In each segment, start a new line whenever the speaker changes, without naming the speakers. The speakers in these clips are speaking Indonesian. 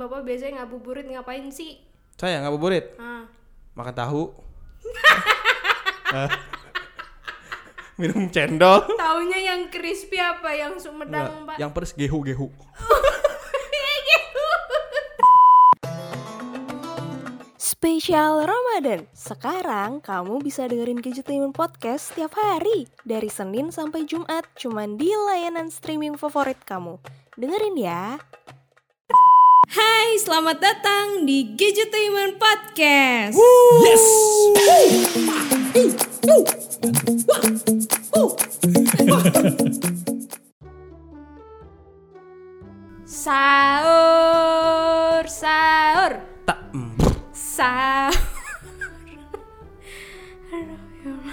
Bapak biasanya ngabuburit ngapain sih?
Saya ngabuburit,
Ah.
makan tahu. Eh, Minum cendol.
Taunya yang crispy apa yang Sumedang,
Enggak,
Pak?
Yang pedes gehu-gehu.
Spesial Ramadan. Sekarang kamu bisa dengerin Gadgetainment Podcast setiap hari dari Senin sampai Jumat cuman di layanan streaming favorit kamu. Dengerin ya.
Hai, selamat datang di Gadgetainment Podcast.
Yes.
Sahur, sahur,
Tak em,
sahur.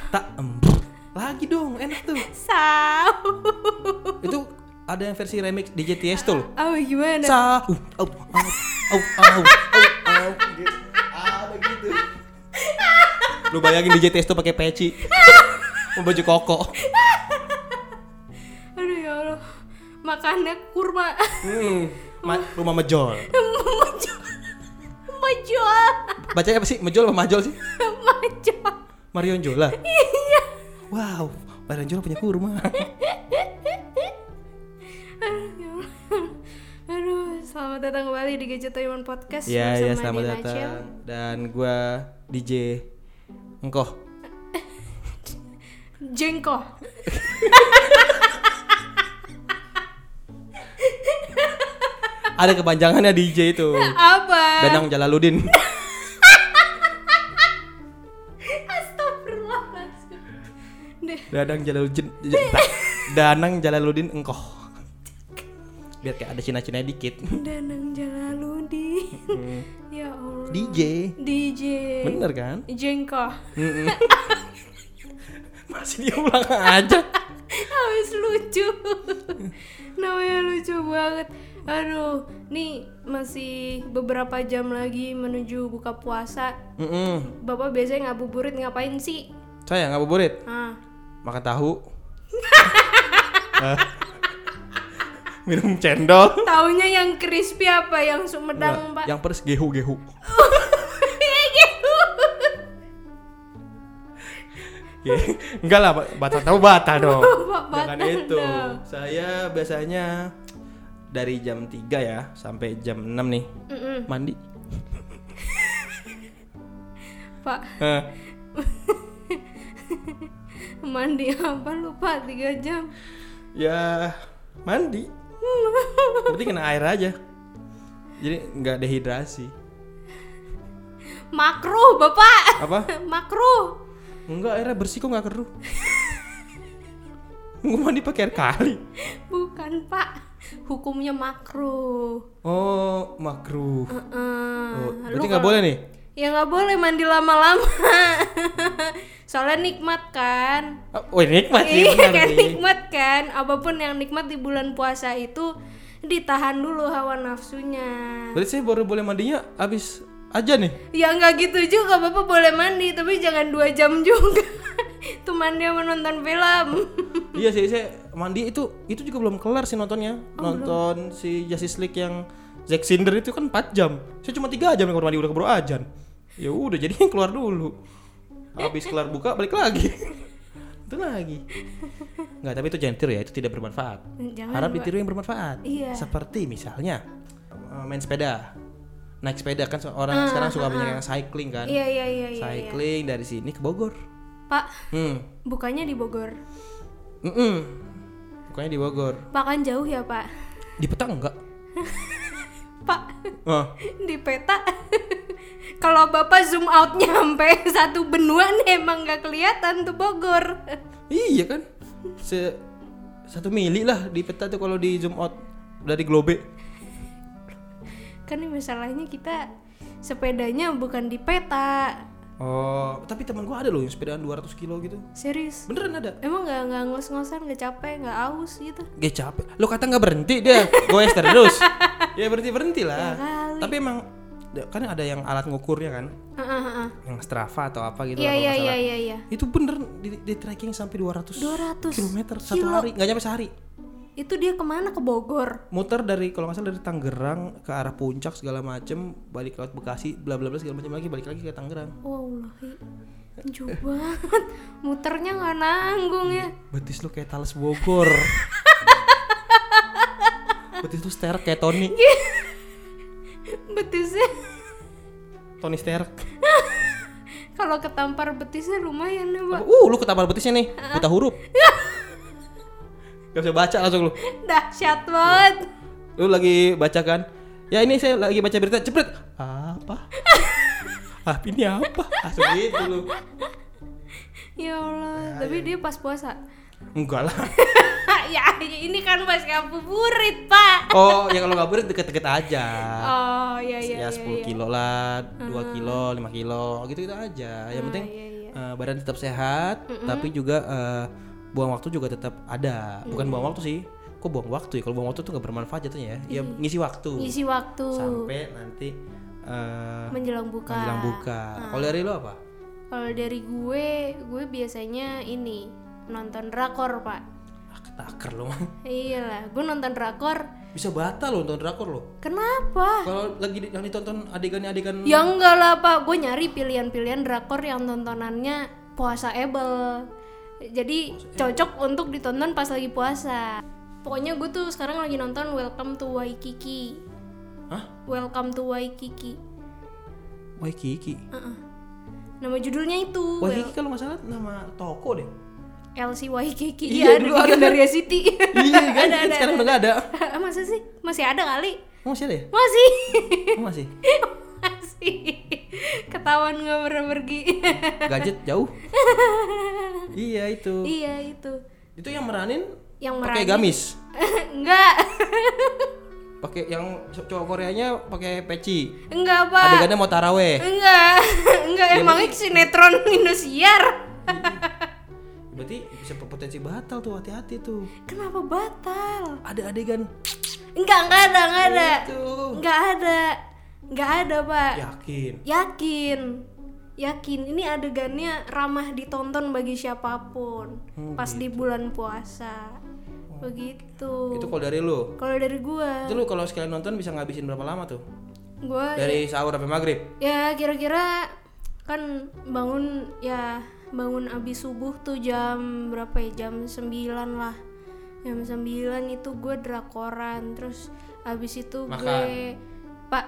tak em. Lagi dong, enak tuh.
Sahur.
Itu ada yang versi remix di JTS tuh loh.
Oh, gimana?
Sa uh, au, au, au, au, au, au, gitu. Ada gitu. Lu bayangin di JTS tuh pakai peci. Mau baju koko.
Aduh ya Allah. Makannya kurma.
Hmm. ma- rumah mejol.
Menjual. Menjual.
Bacanya apa sih? Mejol apa majol sih?
Menjual.
Marion Jola. Iya. Wow, Marion Jola punya kurma.
Aduh, ya Allah. Aduh, selamat datang kembali di Gadgetainment Podcast
Ya
bersama
ya selamat
Dina
datang
Acel.
dan gua DJ Engkoh.
Jengko.
Ada kepanjangannya DJ itu.
Apa?
Danang Jalaluddin.
Astagfirullahaladzim. Deh,
Danang Jalaluddin. J- tak. Danang Jalaluddin Engkoh. Biar kayak ada Cina-Cina dikit.
Danang Jalaludin.
Hmm.
ya Allah.
DJ.
DJ.
Bener kan?
Jengko.
Mm-mm. Masih diulang aja.
Habis lucu. Namanya lucu banget. Aduh, nih masih beberapa jam lagi menuju buka puasa.
Mm-mm.
Bapak biasanya ngabuburit ngapain sih?
Saya ngabuburit.
Ah.
makan tahu Eh, minum cendol
Taunya yang crispy apa yang Sumedang,
Nggak,
Pak? Iya gitu.
yang pedes gehu gehu enggak lah ba- batal tahu batal dong
Batal
Jangan Ya kan itu
dong.
saya biasanya dari jam 3 ya sampai jam 6 nih
Mm-mm,
mandi
Pak,
Eh,
mandi apa lupa 3 jam.
ya mandi berarti kena air aja jadi nggak dehidrasi
Makruh, Bapak.
apa
Makruh.
enggak airnya bersih kok nggak keruh Gua mandi pakai air kali
Bukan, Pak. Hukumnya makruh.
oh makruh
Heeh.
Oh,
Ah, Lu
berarti nggak
kalau-
boleh nih?
Ya nggak boleh mandi lama-lama. Soalnya nikmat kan.
Ah, Wih nikmat sih
Iya
bener
kan
nih.
nikmat kan. Apapun yang nikmat di bulan puasa itu ditahan dulu hawa nafsunya.
Berarti saya baru boleh mandinya abis aja nih.
Ya nggak gitu juga, Bapak boleh mandi tapi jangan dua jam juga. Itu mandi sama nonton film.
iya sih saya mandi itu itu juga belum kelar sih
Oh,
nontonnya. Nonton si Justice League yang Zack Snyder itu kan 4 jam. Saya cuma 3 jam yang keluar mandi udah keburu ajan. Ya udah jadi yang keluar dulu. Habis kelar buka balik lagi. itu lagi. Enggak, tapi itu jangan ditiru ya, itu tidak bermanfaat.
Jangan,
Harap
Pak.
ditiru yang bermanfaat.
Iya.
Seperti misalnya eh, main sepeda. Naik sepeda kan orang sekarang suka banyak yang cycling kan.
Ah, Iya iya iya iya. iya.
cycling dari sini ke Bogor.
Pak,
Hmm.
bukannya di Bogor.
Mm-mm. Bukannya di Bogor.
Pak kan jauh ya, Pak.
Di peta enggak?
Pak,
Ah,
di peta. Kalau Bapak zoom outnya sampai satu benua nih emang nggak kelihatan tuh Bogor.
iya kan? Se satu mili lah di peta tuh kalau di zoom out dari globe.
Kan ini masalahnya kita sepedanya bukan di peta.
Oh, tapi teman gua ada loh yang sepedaan 200 kilo gitu.
Serius.
Beneran ada.
Emang nggak nggak ngos-ngosan, nggak capek, nggak haus gitu.
Gak capek. Lo kata nggak berhenti dia, goes terus. ya berhenti berhenti lah. Tapi emang kan ada yang alat ngukurnya kan,
Ah, ah, ah, ah.
yang Strava atau apa gitu
Iya
lah kalau
iya
nggak
iya
salah.
iya iya.
Itu bener di, di trekking sampai 200
200
km satu
kilo.
hari, nggak nyampe sehari.
Itu dia kemana ke Bogor?
muter dari kalau nggak salah dari Tangerang ke arah puncak segala macem balik lewat Bekasi bla bla bla segala macam lagi balik lagi ke Tangerang
Wallahi, jauh banget. Muternya nggak nanggung ya.
betis lu kayak Tales Bogor betis lu sterek kayak Tony
Betisnya,
Tony sterek
kalau ketampar betisnya lumayan ya, Pak.
uh lu ketampar betisnya nih buta huruf gak bisa baca langsung lu
Dahsyat banget.
lu lagi baca kan ya ini saya lagi baca berita cepet apa ah ini apa asal gitu lu
Ya Allah, tapi dia pas puasa.
enggak lah
ya, ini kan pas ngabuburit, Pak.
oh ya kalau ngaburit deket-deket aja
Oh, iya iya.
ya
iya, Ah.
10 kilo lah, 2 kilo, 5 kilo, gitu-gitu aja. Yang penting
iya,
eh, badan tetap sehat, tapi juga eh, buang waktu juga tetap ada. Bukan buang waktu sih. Kok buang waktu ya? Kalau buang waktu tuh gak bermanfaat jatuhnya ya. Ya ngisi waktu.
Ngisi waktu
Sampai nanti eh
menjelang buka.
menjelang buka.
Ah.
Kalau dari lo apa?
Kalau dari gue, gue biasanya ini nonton drakor, Pak.
Ah, ketaker lo. mah.
Iyalah, gue nonton drakor.
Bisa batal lo nonton drakor lo.
Kenapa?
Kalau lagi di- yang ditonton adegan-adegan
Ya enggak lah pak, gue nyari pilihan-pilihan drakor yang tontonannya puasa ebel Jadi cocok untuk ditonton pas lagi puasa Pokoknya gue tuh sekarang lagi nonton Welcome to Waikiki
Hah?
Welcome to Waikiki
Waikiki.
Iya. Nama judulnya itu
Waikiki kalau nggak salah nama toko deh.
LC Waikiki
Iya,
ya,
dulu
ada di
ada.
Gandaria City
Iya kan?
Ada, ada,
Sekarang udah nggak ada.
Ah, Masa sih? Masih ada kali?
Oh, masih ada ya?
Masih
Oh, masih.
Masih Ketahuan gak pernah pergi
Gadget jauh. iya itu.
Iya itu
Itu yang meranin
Yang
pakai
meranin-
gamis.
Enggak
Pakai yang cowok Koreanya pakai peci.
Enggak, Pak.
Adegannya mau taraweh.
Enggak. Enggak, emangnya sinetron Indosiar.
Berarti bisa potensi batal tuh hati-hati tuh.
Kenapa batal?
Ada adegan Gitu.
Enggak, enggak ada, enggak ada.
Iya, tuh.
Enggak ada. Enggak ada, Pak.
Yakin.
Yakin. Yakin. Ini adegannya ramah ditonton bagi siapapun.
Hmm,
pas di bulan puasa. Begitu.
gitu. Itu kalau dari lu.
Kalau dari gua,
Itu lu kalau sekalian nonton bisa ngabisin berapa lama tuh?
gua
Dari sahur sampai maghrib.
ya kira-kira kan bangun ya bangun abis subuh tuh jam berapa ya jam 9 lah jam 9 itu gue drakoran terus abis itu gue pak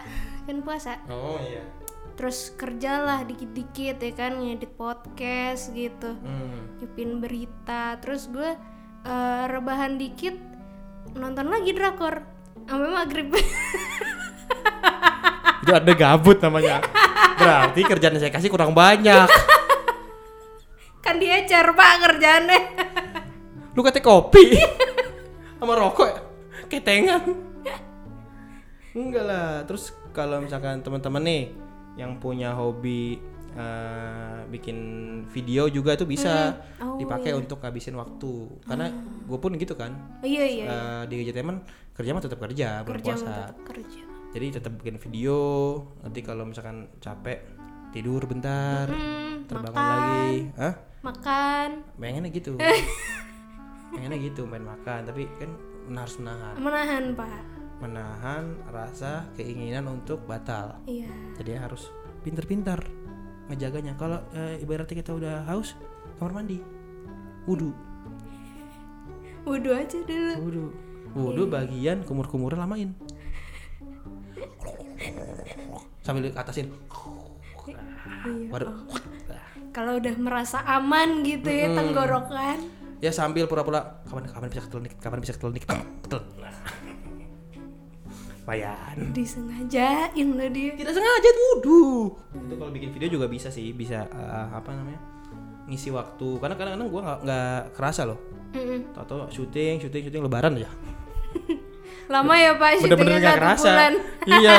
kan puasa
Oh iya.
terus kerjalah dikit-dikit ya kan ngedit podcast gitu
Hmm.
nyepin berita terus gue eh, rebahan dikit nonton lagi drakor sampai maghrib
Itu ada gabut namanya. Berarti kerjaan yang saya kasih kurang banyak.
kan dia pak kerjaannya
lu katanya kopi sama rokok ya? ketengan enggak lah terus kalau misalkan teman-teman nih yang punya hobi eh, bikin video juga itu bisa
Oh,
dipakai untuk habisin waktu karena gue pun gitu kan
Oh, iya iya
Eh, di Gadgetemen kerja mah tetap kerja bulan
kerja
puasa
mah tetap kerja
jadi tetap bikin video nanti kalau misalkan capek tidur bentar
hmm,
terbangun
makan
lagi Hah?
makan
pengennya gitu pengennya gitu main makan tapi kan harus menahan
menahan pak
menahan rasa keinginan untuk batal
iya
jadi harus pinter-pinter ngejaganya kalau eh, ibaratnya kita udah haus kamar mandi wudhu
wudhu aja dulu
wudhu wudhu bagian kumur-kumur lamain sambil ke atasin baru
kalau udah merasa aman gitu ya tenggorokan
ya sambil pura-pura kapan kapan bisa ketelan dikit kapan bisa ketelan dikit ketelan Nah. lumayan
disengajain lah dia
tidak sengaja itu wudhu itu kalau bikin video juga bisa sih bisa eh, apa namanya ngisi waktu karena kadang-kadang gue nggak nggak kerasa loh
Mm-mm.
Tato syuting syuting syuting lebaran aja
lama ya pak syutingnya
bener-bener nggak
satu
kerasa
bulan
iya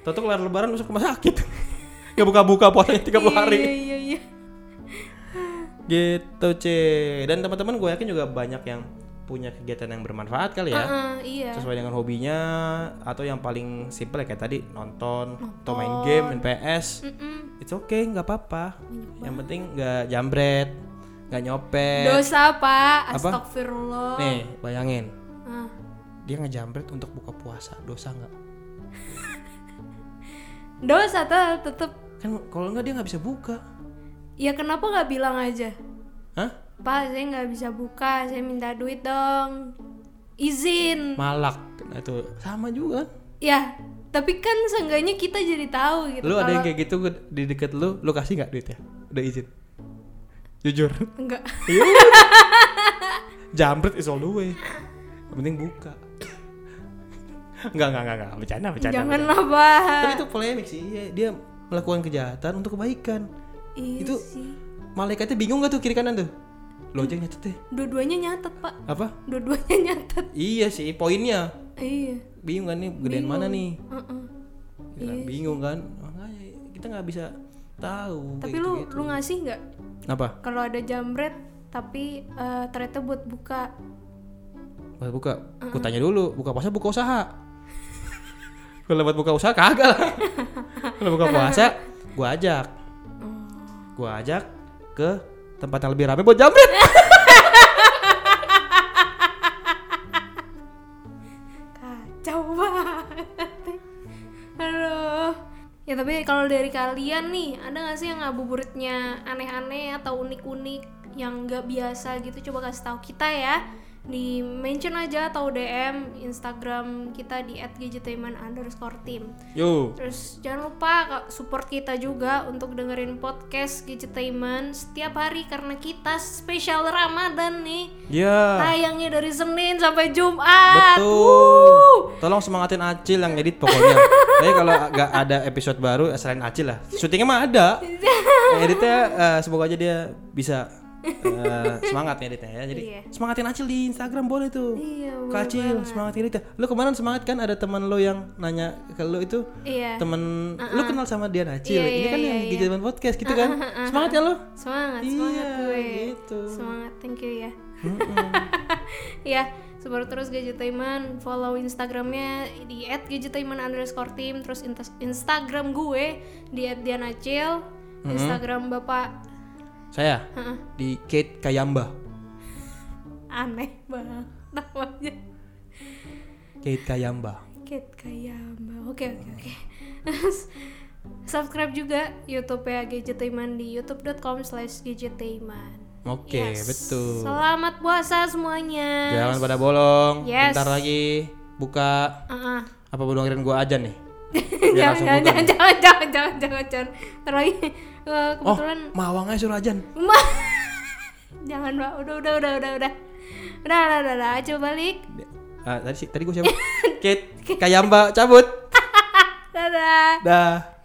Tato kelar lebaran masuk rumah sakit nggak buka-buka puasanya 30 hari
iya iya iya
gitu c dan teman-teman gue yakin juga banyak yang punya kegiatan yang bermanfaat kali ya
Ah, iya
sesuai dengan hobinya atau yang paling simple ya kayak tadi nonton, atau main game main PS
Mm-mm.
it's okay nggak apa-apa yang penting nggak jambret nggak nyopet
dosa pak
Apa?
astagfirullah
nih bayangin
Ah,
dia ngejambret untuk buka puasa dosa nggak
dosa tuh tetep
kan kalau nggak dia nggak bisa buka
ya kenapa nggak bilang aja
hah
pak saya nggak bisa buka saya minta duit dong izin
malak nah, itu sama juga kan
ya tapi kan seenggaknya kita jadi tahu gitu
lu ada yang
kalau-
kayak gitu di deket lu lu kasih nggak duitnya udah izin jujur
enggak
jambret is all the way yang penting buka nggak nggak nggak nggak bercanda bercanda bercanda.
janganlah pak
tapi itu polemik sih iya, dia melakukan kejahatan untuk kebaikan
Iya
itu-
sih.
malaikatnya bingung gak tuh kiri kanan tuh lo aja yang nyatet deh
dua-duanya nyatet pak
apa
dua-duanya nyatet
iya sih poinnya
iya
bingung kan nih gedean mana nih
Heeh.
Gila,
Iya
bingung kan makanya kita nggak bisa tahu
tapi
kayak gitu
lu
gitu-gitu.
lu ngasih nggak
apa
kalau ada jambret tapi eh, ternyata buat buka
Pas buka aku tanya dulu buka puasa buka usaha kalau buat buka usaha kagak lah kalau buka puasa gua ajak
Oh.
gua ajak ke tempat yang lebih rame buat jambret
kacau banget aduh ya tapi kalau dari kalian nih ada nggak sih yang ngabuburitnya aneh-aneh atau unik-unik yang nggak biasa gitu coba kasih tahu kita ya di mention aja atau DM Instagram kita di @gadgetainment underscore team
yo
Terus jangan lupa Kak, support kita juga untuk dengerin podcast Gadgetainment setiap hari karena kita spesial Ramadan nih.
ya
Tayangnya dari Senin sampai Jumat. Wuh.
betul tolong semangatin Acil yang edit pokoknya tapi kalau nggak ada episode baru eh, selain Acil lah syutingnya mah ada Eh, editnya eh, semoga aja dia bisa eh, semangat ya editnya ya jadi
Iya.
semangatin Acil di Instagram boleh tuh
Iya, boleh
Kacil semangat ini tuh. Lu kemarin semangat kan ada teman lo yang nanya ke lu itu
Iya.
temen lu kenal sama dia Acil.
Iya,
ini
iya, Eh,
kan yang di zaman podcast gitu kan. Semangat ya lo?
Semangat, semangat
Iya,
gue.
gitu.
Semangat, thank you ya. ya, support terus Gadgetainment, follow Instagramnya di @gadgetainment underscore team, terus intas- Instagram gue di @dianacil, Instagram bapak
Saya
Eh,
di Kate Kayamba.
aneh banget namanya.
Kate Kayamba.
Kit Kayamba. Oke oke oke. Subscribe juga YouTube ya Gadgetaiman di youtube.com slash gadgetaiman.
Oke,
Yes.
betul.
Selamat puasa semuanya.
Jangan pada bolong.
Yes.
Bentar lagi buka
Ah, ah.
apa bodoh dengerin gua aja nih. Biar
jangan, Iya,
langsung
jangan,
buka
jangan,
nih.
jangan, jangan, jangan, jangan, jangan. Ntar lagi eh,
Oh,
kebetulan
mawang aja suruh ajan.
Ma- jangan Pak. udah udah udah udah udah udah udah udah, udah. coba balik
Ah, tadi sih, tadi gua siapa? Kate Kayamba cabut.
dadah
Dah.